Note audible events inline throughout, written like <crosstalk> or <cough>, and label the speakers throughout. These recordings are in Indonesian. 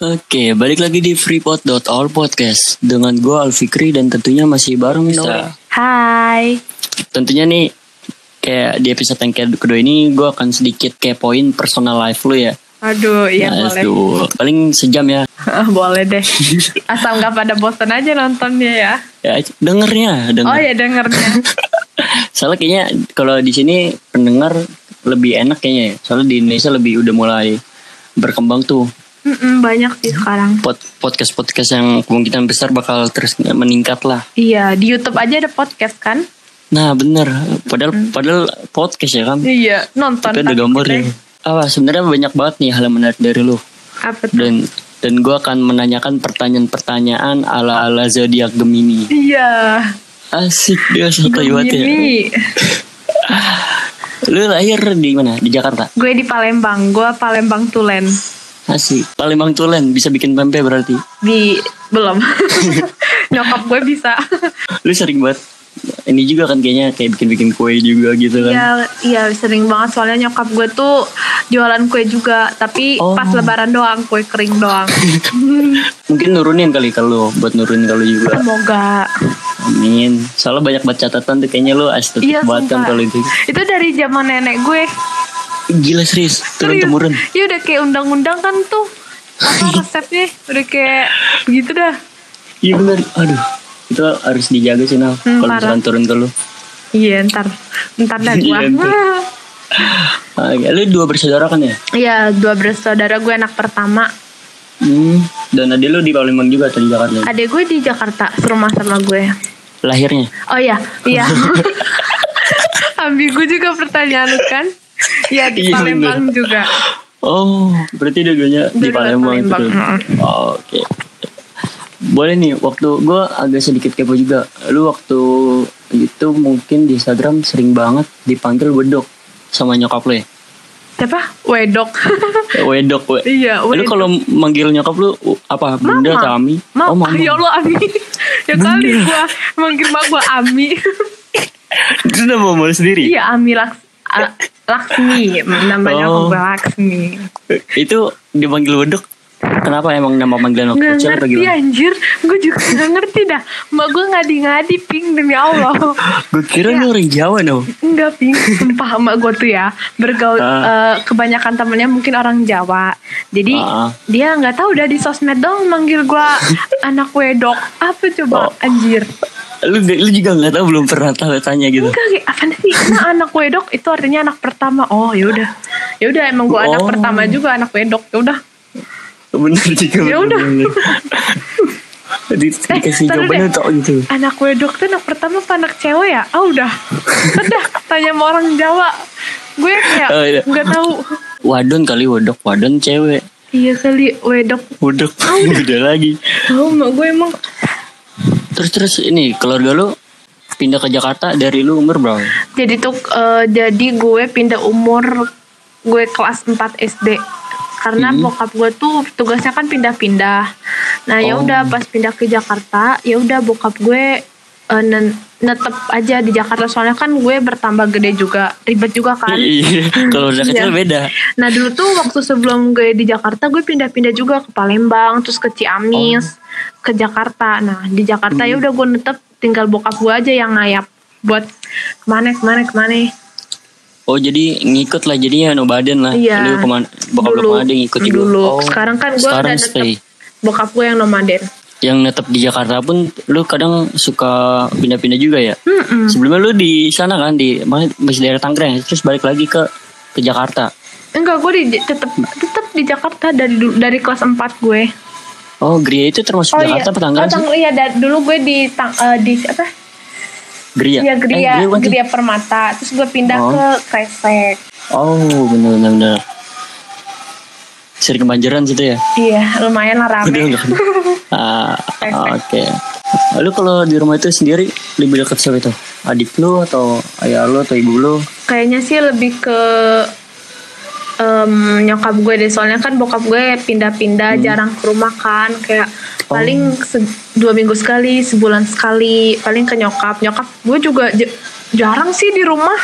Speaker 1: Oke, balik lagi di freepod.org podcast dengan gue Alfikri dan tentunya masih bareng Nora.
Speaker 2: gitu. Hai.
Speaker 1: Tentunya nih kayak di episode yang ke- kedua ini gue akan sedikit kepoin personal life lu ya.
Speaker 2: Aduh, iya
Speaker 1: Life
Speaker 2: <laughs> boleh. Ah,
Speaker 1: lu. Paling sejam ya.
Speaker 2: boleh deh. Asal nggak pada bosen aja nontonnya ya.
Speaker 1: Ya dengernya, denger.
Speaker 2: Oh ya dengernya.
Speaker 1: Soalnya kayaknya kalau di sini pendengar lebih enak kayaknya. ya. Soalnya di Indonesia lebih udah mulai berkembang tuh
Speaker 2: Mm-mm, banyak sih sekarang.
Speaker 1: Pod- podcast-podcast yang kemungkinan besar bakal terus meningkat lah.
Speaker 2: Iya, di YouTube aja ada podcast kan?
Speaker 1: Nah bener, padahal
Speaker 2: Hmm.
Speaker 1: padahal podcast ya kan,
Speaker 2: Iya, nonton.
Speaker 1: tapi ada
Speaker 2: pasti
Speaker 1: gambarnya.
Speaker 2: deh.
Speaker 1: Ah sebenarnya banyak banget nih hal yang menarik dari lu
Speaker 2: Apa tuh?
Speaker 1: dan dan gue akan menanyakan pertanyaan-pertanyaan ala ala zodiak Gemini.
Speaker 2: Iya.
Speaker 1: Asik dia santai banget ya.
Speaker 2: Ini
Speaker 1: Lu lahir di mana? Di Jakarta.
Speaker 2: gue di Palembang, gue Palembang Tulen.
Speaker 1: Asik. Palembang Tulen bisa bikin pempek berarti.
Speaker 2: Di belum. <laughs> Nyokap gue bisa.
Speaker 1: Lu sering banget ini juga kan kayaknya kayak bikin-bikin kue juga gitu kan.
Speaker 2: Iya, iya sering banget soalnya nyokap gue tuh jualan kue juga, tapi
Speaker 1: Oh.
Speaker 2: pas lebaran doang, kue kering doang.
Speaker 1: Mungkin nurunin kali kalau buat nurunin kalau juga.
Speaker 2: Semoga.
Speaker 1: Amin. Soalnya banyak banget catatan tuh kayaknya lu estetik
Speaker 2: Iya,
Speaker 1: banget kan
Speaker 2: sumpah.
Speaker 1: kalau itu.
Speaker 2: Itu dari zaman nenek gue.
Speaker 1: Gila serius, turun
Speaker 2: Serius.
Speaker 1: temurun.
Speaker 2: Iya udah kayak undang-undang kan tuh.
Speaker 1: <laughs>
Speaker 2: Apa resepnya udah kayak begitu dah.
Speaker 1: Iya benar. Aduh, itu harus dijaga sih Nal.
Speaker 2: Hmm,
Speaker 1: kalau
Speaker 2: parah.
Speaker 1: misalkan turun ke lu.
Speaker 2: Iya ntar ntar dah
Speaker 1: <laughs>
Speaker 2: gue.
Speaker 1: Iya, ntar. Ah, ya, lu dua bersaudara kan ya?
Speaker 2: <laughs> Iya dua bersaudara gue anak pertama.
Speaker 1: Hmm. Dan adik lu di Palembang juga atau di Jakarta?
Speaker 2: Adek gue di Jakarta serumah sama gue.
Speaker 1: Lahirnya.
Speaker 2: Oh iya
Speaker 1: <laughs>
Speaker 2: iya. <laughs> Ambigu juga pertanyaan lu kan. Iya di
Speaker 1: Iya,
Speaker 2: Palembang juga.
Speaker 1: Oh, berarti dua-duanya di
Speaker 2: Dua-duanya
Speaker 1: Palembang itu.
Speaker 2: Palembang, hmm.
Speaker 1: tuh.
Speaker 2: heeh.
Speaker 1: Oh, Oke. Boleh nih, waktu gue agak sedikit kepo juga. Lu waktu itu mungkin di Instagram sering banget dipanggil wedok sama nyokap lu ya?
Speaker 2: Siapa? Wedok. <laughs>
Speaker 1: Eh, Wedok, we.
Speaker 2: iya,
Speaker 1: Lu
Speaker 2: wedok.
Speaker 1: kalau manggil nyokap lu uh, apa? Bunda atau Ami?
Speaker 2: Ma,
Speaker 1: oh, mama.
Speaker 2: <laughs> ya Allah Ami. ya kali
Speaker 1: Bener.
Speaker 2: gua manggil mak gua
Speaker 1: <laughs>
Speaker 2: Ami.
Speaker 1: Itu udah mama lu sendiri?
Speaker 2: Iya Ami Laks A- Laksmi namanya
Speaker 1: Oh.
Speaker 2: aku Laksmi.
Speaker 1: itu dipanggil wedok kenapa emang nama panggilan waktu
Speaker 2: Gak
Speaker 1: kecil atau
Speaker 2: ngerti
Speaker 1: gimana?
Speaker 2: anjir, gue juga gak ngerti dah. Mbak gue ngadi-ngadi ping demi
Speaker 1: <laughs>
Speaker 2: Allah.
Speaker 1: Gue kira lu orang Jawa no.
Speaker 2: Enggak ping, sumpah emak gue tuh ya bergaul
Speaker 1: Ah.
Speaker 2: eh, kebanyakan temennya mungkin orang Jawa. Jadi
Speaker 1: Ah.
Speaker 2: dia nggak tahu udah di sosmed dong manggil
Speaker 1: <laughs>
Speaker 2: gue anak wedok. Apa coba
Speaker 1: Oh.
Speaker 2: anjir?
Speaker 1: Lu lu juga nggak tahu belum pernah tahu tanya gitu.
Speaker 2: Enggak, kayak apa sih? Nah, anak wedok itu artinya anak pertama. Oh, ya udah. Ya udah emang gua anak
Speaker 1: Oh.
Speaker 2: pertama juga anak wedok. Ya udah.
Speaker 1: Bener juga.
Speaker 2: Ya
Speaker 1: bener,
Speaker 2: udah. <laughs>
Speaker 1: bener. Di,
Speaker 2: Eh,
Speaker 1: dikasih
Speaker 2: ntar
Speaker 1: jawabannya
Speaker 2: deh.
Speaker 1: tok gitu.
Speaker 2: Anak wedok tuh anak pertama apa anak cewek ya? Oh, udah. Udah, tanya sama orang Jawa. Gue kayak
Speaker 1: Oh, iya.
Speaker 2: nggak tahu.
Speaker 1: Wadon kali wedok, wadon cewek.
Speaker 2: Iya kali wedok.
Speaker 1: Wedok
Speaker 2: iya.
Speaker 1: udah. lagi.
Speaker 2: Oh, emak gue emang
Speaker 1: Terus terus ini keluarga lu pindah ke Jakarta dari lu umur berapa?
Speaker 2: jadi tuh eh, jadi gue pindah umur gue kelas 4 SD karena bokap gue tuh tugasnya kan pindah-pindah. Nah,
Speaker 1: Oh.
Speaker 2: ya udah pas pindah ke Jakarta, ya udah bokap gue eh, nen- netep aja di Jakarta soalnya kan gue bertambah gede juga, ribet juga
Speaker 1: <laughs>
Speaker 2: kan.
Speaker 1: Iya, kalau udah kecil
Speaker 2: Iya.
Speaker 1: beda.
Speaker 2: Nah, dulu tuh waktu sebelum gue di Jakarta, gue pindah-pindah juga ke Palembang, terus ke Ciamis, ke Jakarta. Nah, di Jakarta ya udah gue netep tinggal bokap gue aja yang ngayap buat kemana kemana kemana
Speaker 1: Oh jadi ngikut lah jadinya no badan lah.
Speaker 2: Iya.
Speaker 1: Lu Ah, kemana? Bokap lu
Speaker 2: Dulu.
Speaker 1: kemana dia ngikut juga.
Speaker 2: Dulu.
Speaker 1: Oh,
Speaker 2: Sekarang kan gue
Speaker 1: sekarang
Speaker 2: udah
Speaker 1: stay.
Speaker 2: tetep bokap gue yang nomaden.
Speaker 1: yang netap di Jakarta pun lu kadang suka pindah-pindah juga ya.
Speaker 2: Mm-mm.
Speaker 1: Sebelumnya lu di sana kan di mana- masih daerah Tangerang ya? terus balik lagi ke ke Jakarta.
Speaker 2: Enggak, gue di, tetep tetep di Jakarta dari dulu- dari kelas 4 gue.
Speaker 1: Oh, Gria itu termasuk Jakarta apa
Speaker 2: Oh,
Speaker 1: Tangerang sih?
Speaker 2: Tang- iya, da- dulu gue di tang, eh, di apa?
Speaker 1: Gria.
Speaker 2: Iya, Geria,
Speaker 1: Eh, bukan sih?
Speaker 2: Geria Permata. Terus gue pindah
Speaker 1: Oh.
Speaker 2: ke Kresek.
Speaker 1: Oh, benar benar benar. Sering kebanjiran situ ya.
Speaker 2: Iya, lumayan
Speaker 1: Udah
Speaker 2: lah rame. <laughs>
Speaker 1: udah. Ah, oke. Lu kalau di rumah itu sendiri lebih dekat siapa itu? Adik lu atau ayah lu atau ibu lu?
Speaker 2: Kayaknya sih lebih ke em, nyokap gue deh. Soalnya kan bokap gue
Speaker 1: Hmm.
Speaker 2: pindah-pindah, jarang ke rumah kan. Kayak
Speaker 1: Oh.
Speaker 2: paling se- dua minggu sekali, sebulan sekali. Paling ke nyokap. Nyokap gue juga Oh j- jarang sih di rumah.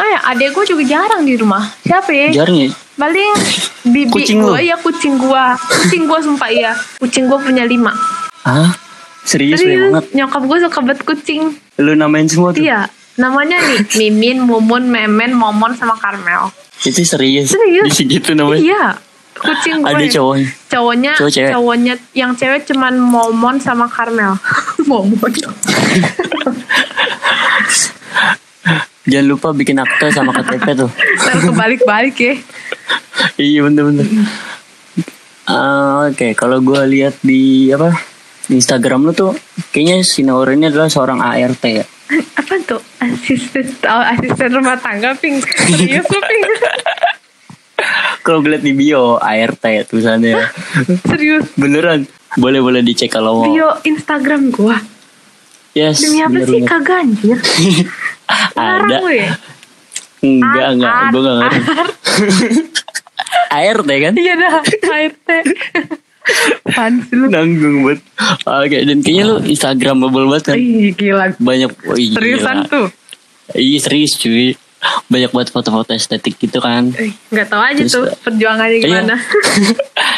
Speaker 2: Eh, adek gue juga jarang di rumah. Siapa ya?
Speaker 1: Jarang ya?
Speaker 2: paling bibi
Speaker 1: Kucing lu?
Speaker 2: gua ya kucing gua kucing gua sumpah iya kucing gua punya lima
Speaker 1: Hah? Serius, banyak Iya,
Speaker 2: Serius,
Speaker 1: banget.
Speaker 2: nyokap gua suka banget kucing
Speaker 1: Lu namain semua tuh?
Speaker 2: iya namanya nih Mimin Mumun Memen Momon sama Karmel
Speaker 1: Itu serius.
Speaker 2: Serius?
Speaker 1: Di segitu namanya.
Speaker 2: iya kucing gua
Speaker 1: Ada
Speaker 2: nih.
Speaker 1: cowoknya.
Speaker 2: cowoknya
Speaker 1: Cowok cewek?
Speaker 2: cowoknya yang cewek cuman Momon sama Karmel <laughs> Momon
Speaker 1: Jangan lupa bikin akte sama KTP
Speaker 2: <laughs>
Speaker 1: tuh.
Speaker 2: Ntar kebalik-balik ya
Speaker 1: iya bener-bener. Ah, Oke, kalau gue lihat di apa di Instagram lu tuh, kayaknya si Naura ini adalah seorang ART ya.
Speaker 2: apa tuh asisten oh, asisten rumah tangga ping serius lu ping
Speaker 1: Kalau gue liat di bio ART ya tulisannya.
Speaker 2: serius
Speaker 1: Beneran. Boleh boleh dicek kalau mau.
Speaker 2: bio Instagram gua
Speaker 1: Yes.
Speaker 2: demi apa sih
Speaker 1: bener-bener.
Speaker 2: kagak anjir
Speaker 1: Ada.
Speaker 2: larang lu ya
Speaker 1: Enggak,
Speaker 2: Ar-
Speaker 1: enggak.
Speaker 2: ar-
Speaker 1: Gue enggak ngerti. <laughs> ART kan?
Speaker 2: iya dah ART pan lu
Speaker 1: Nanggung banget. Oke, dan kayaknya lu Instagramable banget kan?
Speaker 2: Ih, gila
Speaker 1: Banyak. wah, iya.
Speaker 2: seriusan tuh
Speaker 1: Iya serius cuy. Banyak banget foto-foto estetik gitu kan.
Speaker 2: Ih, nggak tahu aja
Speaker 1: Terus,
Speaker 2: tuh perjuangannya
Speaker 1: iya.
Speaker 2: gimana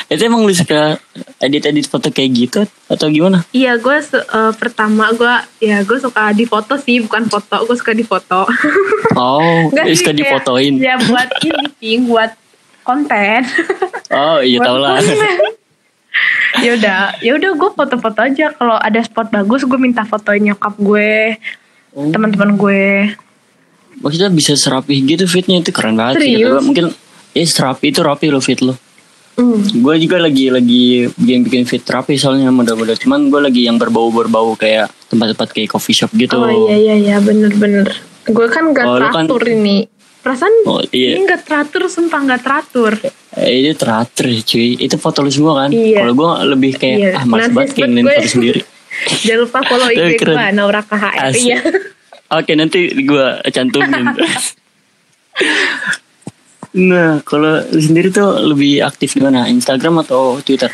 Speaker 1: Itu emang lu suka edit-edit foto kayak gitu atau gimana?
Speaker 2: Iya, gue pertama gue ya gue suka di foto sih, bukan foto. Gue suka di
Speaker 1: <laughs>
Speaker 2: foto.
Speaker 1: Oh,
Speaker 2: Nggak
Speaker 1: lu
Speaker 2: sih,
Speaker 1: suka
Speaker 2: kayak-
Speaker 1: difotoin.
Speaker 2: Ya buat ini sih, buat
Speaker 1: <laughs>
Speaker 2: konten.
Speaker 1: Oh iya
Speaker 2: Buat
Speaker 1: tau lah. <laughs>
Speaker 2: konten. ya udah, ya udah gue foto-foto aja. Kalau ada spot bagus, gue minta fotoin nyokap gue,
Speaker 1: Oh.
Speaker 2: teman-teman gue.
Speaker 1: Maksudnya bisa serapih gitu fitnya itu keren banget sih. kata
Speaker 2: Serius?
Speaker 1: gua. Mungkin ya serapi itu rapi lo fit lo.
Speaker 2: Hmm.
Speaker 1: Gue juga lagi lagi bikin bikin fit rapi soalnya mudah-mudah. Cuman gue lagi yang berbau berbau kayak tempat-tempat kayak coffee shop gitu.
Speaker 2: Oh iya iya iya, bener-bener. Gue kan gak
Speaker 1: Oh, lu kan-
Speaker 2: teratur ini. Perasaan
Speaker 1: Oh, iya.
Speaker 2: ini gak teratur, sumpah gak
Speaker 1: <laughs>
Speaker 2: teratur.
Speaker 1: Eh, itu teratur sih, cuy. Itu foto lu semua kan?
Speaker 2: Iya.
Speaker 1: Kalau gue lebih kayak
Speaker 2: Iya.
Speaker 1: ah males
Speaker 2: Narsis
Speaker 1: banget kayak
Speaker 2: banget
Speaker 1: ngeliat
Speaker 2: gue.
Speaker 1: foto sendiri.
Speaker 2: Jangan lupa follow
Speaker 1: Eh,
Speaker 2: IG gue,
Speaker 1: keren.
Speaker 2: Naura KHR.
Speaker 1: Asik.
Speaker 2: Iya.
Speaker 1: Oke nanti gue
Speaker 2: <laughs>
Speaker 1: cantumin. nah kalau lu sendiri tuh lebih aktif di mana? Instagram atau Twitter?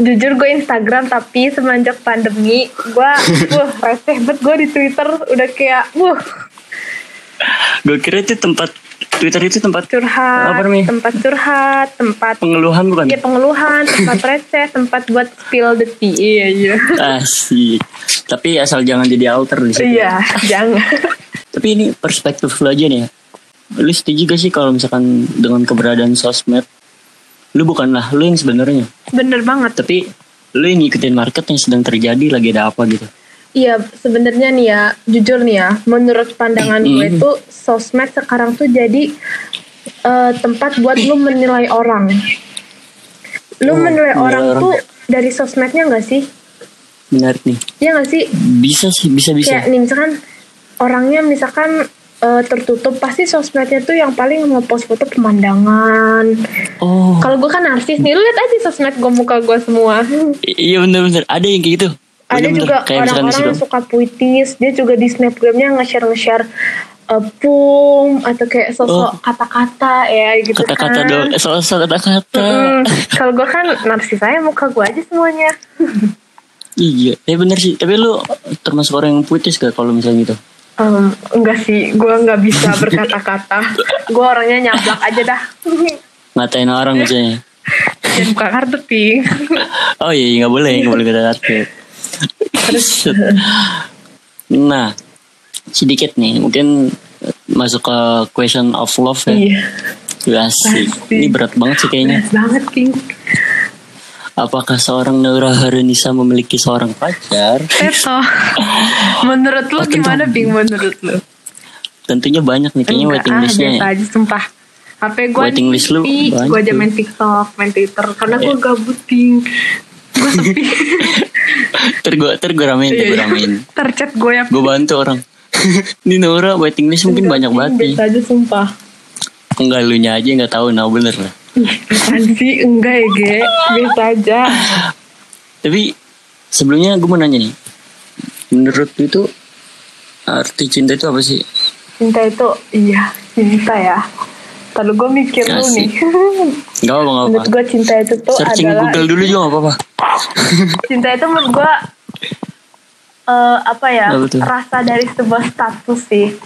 Speaker 2: jujur gue Instagram tapi semenjak pandemi gue wah receh banget gue di Twitter udah kayak wah
Speaker 1: Gue kira itu tempat Twitter itu tempat Apa
Speaker 2: curhat
Speaker 1: namanya?
Speaker 2: tempat curhat tempat <laughs>
Speaker 1: pengeluhan bukan?
Speaker 2: ya pengeluhan tempat receh tempat buat spill the tea iya iya
Speaker 1: Asik. Tapi asal jangan jadi alter di situ.
Speaker 2: iya jangan
Speaker 1: Tapi ini perspektif lu aja nih ya. Lu setuju gak sih kalau misalkan dengan keberadaan sosmed, lu bukanlah lu yang sebenarnya,
Speaker 2: <laughs> bener banget
Speaker 1: tapi lu yang ngikutin market yang sedang terjadi lagi ada apa gitu.
Speaker 2: iya sebenarnya nih ya jujur nih ya menurut pandangan gue itu sosmed sekarang tuh jadi eh, tempat buat lu menilai orang lu
Speaker 1: Oh, menilai
Speaker 2: menilai orang
Speaker 1: orang.
Speaker 2: tuh dari sosmednya gak sih
Speaker 1: Menarik nih.
Speaker 2: Iya gak sih?
Speaker 1: Bisa sih, bisa bisa.
Speaker 2: Kayak nih misalkan orangnya misalkan eh, tertutup pasti sosmednya tuh yang paling ngepost foto pemandangan.
Speaker 1: Oh,
Speaker 2: Kalau gue kan narsis nih, lu lihat aja sosmed gue muka gue semua.
Speaker 1: i- iya bener-bener. Ada yang kayak gitu.
Speaker 2: Ada
Speaker 1: Bener-bener.
Speaker 2: juga
Speaker 1: Kayak misalkan di
Speaker 2: orang-orang yang
Speaker 1: situ.
Speaker 2: suka puitis, dia juga di snapgramnya nge-share nge-share eh, pum atau kayak sosok
Speaker 1: Oh.
Speaker 2: kata-kata ya gitu
Speaker 1: Kata-kata
Speaker 2: kan.
Speaker 1: doang, soal soal kata-kata. <laughs>
Speaker 2: Mm-mm. Kalau gue kan narsis aja muka gue aja semuanya.
Speaker 1: Iya, ya bener sih. Tapi lu termasuk orang yang puitis gak kalau misalnya gitu?
Speaker 2: Em, enggak sih, gue nggak bisa
Speaker 1: <laughs>
Speaker 2: berkata-kata. gue orangnya nyablak aja dah. <laughs>
Speaker 1: Ngatain orang misalnya.
Speaker 2: Jangan buka kartu ping.
Speaker 1: Oh iya, iya, nggak boleh, nggak boleh kata target. Terus, <laughs> nah, sedikit nih, mungkin masuk ke question of love ya.
Speaker 2: Iya.
Speaker 1: Wih, asik.
Speaker 2: Asik.
Speaker 1: Ini berat banget sih kayaknya.
Speaker 2: Berat banget ping.
Speaker 1: Apakah seorang Naura Harunisa memiliki seorang pacar?
Speaker 2: Seto. Menurut lu gimana ping? Menurut lu?
Speaker 1: Tentunya banyak nih, kayaknya
Speaker 2: Enggak,
Speaker 1: waiting
Speaker 2: ah,
Speaker 1: listnya.
Speaker 2: biasa
Speaker 1: ya.
Speaker 2: aja sumpah. HP gue
Speaker 1: Waiting list lu banyak
Speaker 2: Gue
Speaker 1: tuh.
Speaker 2: aja
Speaker 1: Iya.
Speaker 2: main TikTok, main Twitter. Karena gue gabut ping.
Speaker 1: <laughs>
Speaker 2: Gue sepi. Iya.
Speaker 1: Ter gue, ter gue ramein, ter gue ramein.
Speaker 2: Tercet gue ya.
Speaker 1: Gue bantu orang. <laughs> ini Naura waiting list mungkin banyak banget nih.
Speaker 2: Biasa aja sumpah.
Speaker 1: Enggak lu nya aja nggak tahu, nah bener lah.
Speaker 2: Ih, apaan sih? Enggak ya, Ge. Biasa aja.
Speaker 1: Tapi sebelumnya gue mau nanya nih, menurut lu itu arti cinta itu apa sih?
Speaker 2: Cinta itu, iya. Cinta ya. Lalu gue mikir lu
Speaker 1: Asik.
Speaker 2: nih. <laughs>
Speaker 1: Gak apa nggak apa.
Speaker 2: menurut gue cinta itu tuh
Speaker 1: Searching
Speaker 2: adalah
Speaker 1: Google dulu juga gak apa-apa.
Speaker 2: cinta itu menurut gue eh, apa ya
Speaker 1: Apa tuh?
Speaker 2: rasa dari sebuah status sih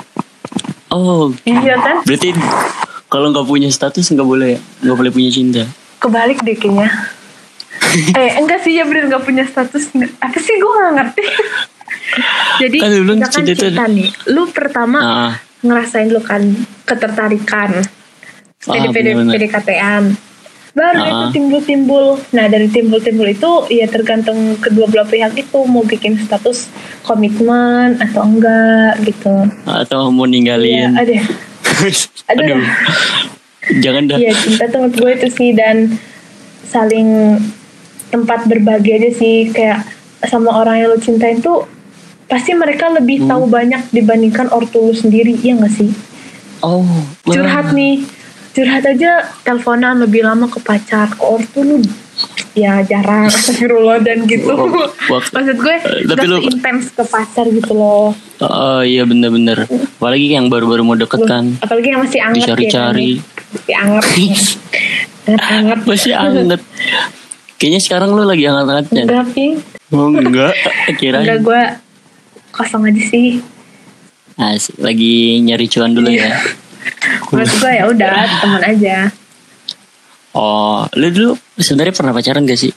Speaker 1: Oh,
Speaker 2: iya kan
Speaker 1: berarti Kalau nggak punya status nggak boleh, ya? nggak boleh punya cinta.
Speaker 2: Kebalik
Speaker 1: <laughs>
Speaker 2: deh kayaknya. eh enggak sih ya bener gak punya status apa sih gue gak ngerti jadi
Speaker 1: Kan dulu
Speaker 2: misalkan
Speaker 1: cinta itu-
Speaker 2: cinta nih lu pertama
Speaker 1: Ah,
Speaker 2: ngerasain lu kan ketertarikan
Speaker 1: Ah,
Speaker 2: PD PD
Speaker 1: bener-bener.
Speaker 2: PDKT-an baru
Speaker 1: Ah.
Speaker 2: itu timbul-timbul nah dari timbul-timbul itu ya tergantung kedua belah pihak itu mau bikin status komitmen atau enggak gitu
Speaker 1: ah. atau mau
Speaker 2: Iya,
Speaker 1: ninggalin.
Speaker 2: aduh
Speaker 1: <laughs>
Speaker 2: Aduh.
Speaker 1: Aduh. Jangan dah.
Speaker 2: Iya cinta tuh menurut gue itu sih dan saling tempat berbagi aja sih kayak sama orang yang lo cintain tuh pasti mereka
Speaker 1: Hmm.
Speaker 2: lebih tahu banyak dibandingkan ortu lu sendiri ya nggak sih
Speaker 1: Oh, wah.
Speaker 2: curhat nih curhat aja teleponan lebih lama ke pacar ke ortu lu ya
Speaker 1: <laughs>
Speaker 2: jarang astagfirullah dan gitu
Speaker 1: Wak- wak-
Speaker 2: maksud gue
Speaker 1: Eh,
Speaker 2: gak
Speaker 1: tapi lu-
Speaker 2: intens ke pacar gitu loh
Speaker 1: Oh, iya bener-bener. Apalagi yang baru-baru mau deket kan.
Speaker 2: apalagi yang masih anget
Speaker 1: Dicari-cari.
Speaker 2: ya kan? masih anget
Speaker 1: <laughs>
Speaker 2: anget
Speaker 1: Masih anget. Kayaknya sekarang lu lagi anget-angetnya.
Speaker 2: Enggak, Ping.
Speaker 1: Oh enggak,
Speaker 2: Enggak
Speaker 1: Ya. kirain.
Speaker 2: gue kosong aja sih.
Speaker 1: Asik, lagi nyari cuan dulu ya.
Speaker 2: Iya. Menurut gue ya udah
Speaker 1: <laughs>
Speaker 2: teman aja.
Speaker 1: Oh, lu dulu sebenarnya pernah pacaran gak sih?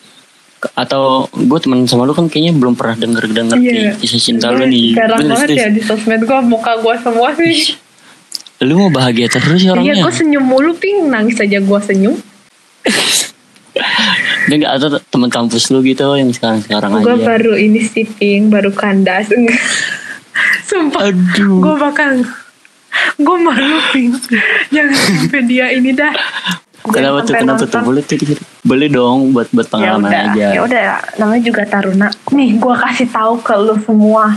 Speaker 1: Ke- Atau gue teman sama lu kan kayaknya belum pernah denger denger kisah cinta lu
Speaker 2: Gua
Speaker 1: nih.
Speaker 2: Iya, Jarang
Speaker 1: Bener,
Speaker 2: Iya. banget
Speaker 1: serius.
Speaker 2: ya di sosmed gue muka gue semua sih.
Speaker 1: Lu mau bahagia terus ya
Speaker 2: ya. Iya
Speaker 1: orangnya.
Speaker 2: gue senyum mulu ping nangis aja gue senyum.
Speaker 1: Dan nggak ada teman kampus lu gitu yang sekarang sekarang aja.
Speaker 2: Gue baru ini sih ping baru kandas. Enggak. <laughs> Sumpah
Speaker 1: Aduh.
Speaker 2: gue bakal gue malu ping. Jangan sampai dia ini dah. Jangan
Speaker 1: Kenapa tuh
Speaker 2: sampai
Speaker 1: kenapa tuh
Speaker 2: nonton.
Speaker 1: boleh tuh dikit? boleh dong buat buat pengalaman
Speaker 2: ya udah,
Speaker 1: aja.
Speaker 2: Ya udah, namanya juga Taruna. Nih, gua kasih tahu ke lu semua.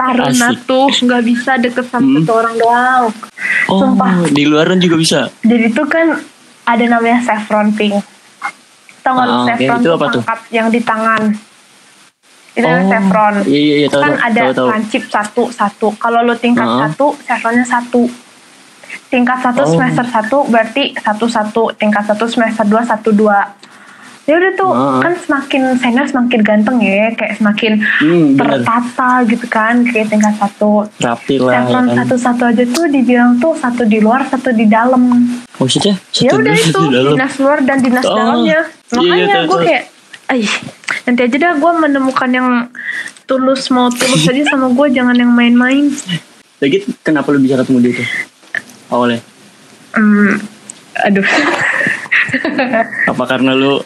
Speaker 2: Taruna
Speaker 1: Asik.
Speaker 2: tuh nggak bisa deket sama
Speaker 1: Hmm.
Speaker 2: satu orang doang.
Speaker 1: oh
Speaker 2: Sumpah.
Speaker 1: di luaran juga bisa.
Speaker 2: Jadi tuh kan ada namanya saffron pink. Tau nggak lu
Speaker 1: Ah, oke.
Speaker 2: saffron
Speaker 1: Itu apa tuh?
Speaker 2: pangkat yang di tangan. Itu namanya
Speaker 1: Oh,
Speaker 2: saffron.
Speaker 1: Iya iya iya tahu
Speaker 2: kan
Speaker 1: tahu,
Speaker 2: ada
Speaker 1: tahu, tahu.
Speaker 2: lancip satu satu. Kalau lu tingkat
Speaker 1: Ah.
Speaker 2: satu, saffronnya satu. Tingkat satu
Speaker 1: Oh.
Speaker 2: semester satu berarti satu satu. Tingkat satu semester dua satu dua. Ya udah tuh
Speaker 1: Ah.
Speaker 2: kan semakin senior semakin ganteng ya, kayak semakin
Speaker 1: Hmm, bener.
Speaker 2: tertata gitu kan, kayak tingkat satu.
Speaker 1: Rapi lah. ya
Speaker 2: Saffron
Speaker 1: kan.
Speaker 2: satu-satu aja tuh dibilang tuh satu di luar, satu di dalam
Speaker 1: Oh, Maksudnya satu
Speaker 2: ya udah
Speaker 1: dulu,
Speaker 2: itu
Speaker 1: satu dalam.
Speaker 2: dinas luar dan dinas
Speaker 1: Oh,
Speaker 2: dalamnya
Speaker 1: iya,
Speaker 2: makanya
Speaker 1: iya, tahu,
Speaker 2: gue
Speaker 1: tahu.
Speaker 2: kayak Aih, nanti aja dah gue menemukan yang tulus mau tulus aja sama gue jangan yang main-main
Speaker 1: Lagi kenapa lu bisa ketemu dia tuh? Awalnya
Speaker 2: hmm, aduh
Speaker 1: apa karena lu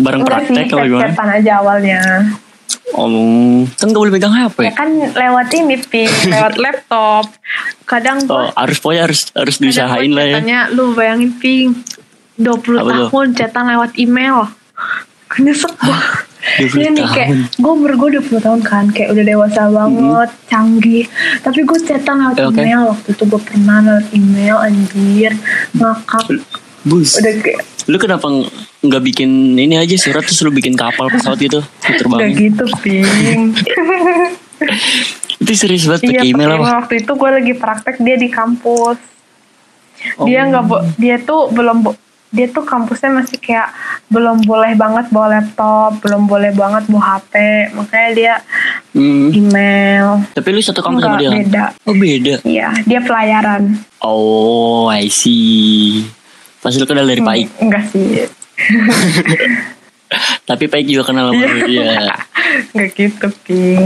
Speaker 1: bareng
Speaker 2: Enggak sih
Speaker 1: praktek atau gimana?
Speaker 2: chat-chatan aja awalnya
Speaker 1: Om, kan gak boleh pegang HP.
Speaker 2: ya kan lewat ini ping lewat laptop kadang
Speaker 1: Oh,
Speaker 2: gue
Speaker 1: harus pokoknya harus harus diusahain lah ya.
Speaker 2: lu bayangin ping 20
Speaker 1: Apa tuh?
Speaker 2: tahun chatan lewat email nyesek banget
Speaker 1: 20
Speaker 2: Iya nih kayak
Speaker 1: tahun. Mm-hmm.
Speaker 2: gue umur gue 20 tahun kan kayak udah dewasa banget, canggih. Tapi gue chatan lewat
Speaker 1: Eh, oke.
Speaker 2: email waktu itu gue pernah lewat email anjir ngakak.
Speaker 1: Bus.
Speaker 2: Udah kayak
Speaker 1: Lu kenapa ng- nggak bikin ini aja surat terus lu bikin kapal pesawat itu lu
Speaker 2: udah
Speaker 1: terbangin?
Speaker 2: gitu ping.
Speaker 1: Itu serius banget
Speaker 2: iya
Speaker 1: pakai
Speaker 2: pakai
Speaker 1: email
Speaker 2: email
Speaker 1: apa?
Speaker 2: waktu itu gue lagi praktek dia di kampus.
Speaker 1: Oh.
Speaker 2: Dia nggak bo- dia tuh belum bo- dia tuh kampusnya masih kayak belum boleh banget bawa laptop, belum boleh banget bawa HP. Makanya dia
Speaker 1: Hmm.
Speaker 2: email.
Speaker 1: Tapi lu satu kampus sama
Speaker 2: Enggak
Speaker 1: dia kan?
Speaker 2: beda.
Speaker 1: Oh beda.
Speaker 2: Iya, dia pelayaran.
Speaker 1: Oh, I see. Pasti lu kenal dari Paik.
Speaker 2: Enggak sih. Hmm.
Speaker 1: Tapi Paik juga kenal
Speaker 2: Iya.
Speaker 1: sama lu iya.
Speaker 2: <laughs>
Speaker 1: dia.
Speaker 2: Enggak gitu, Ping.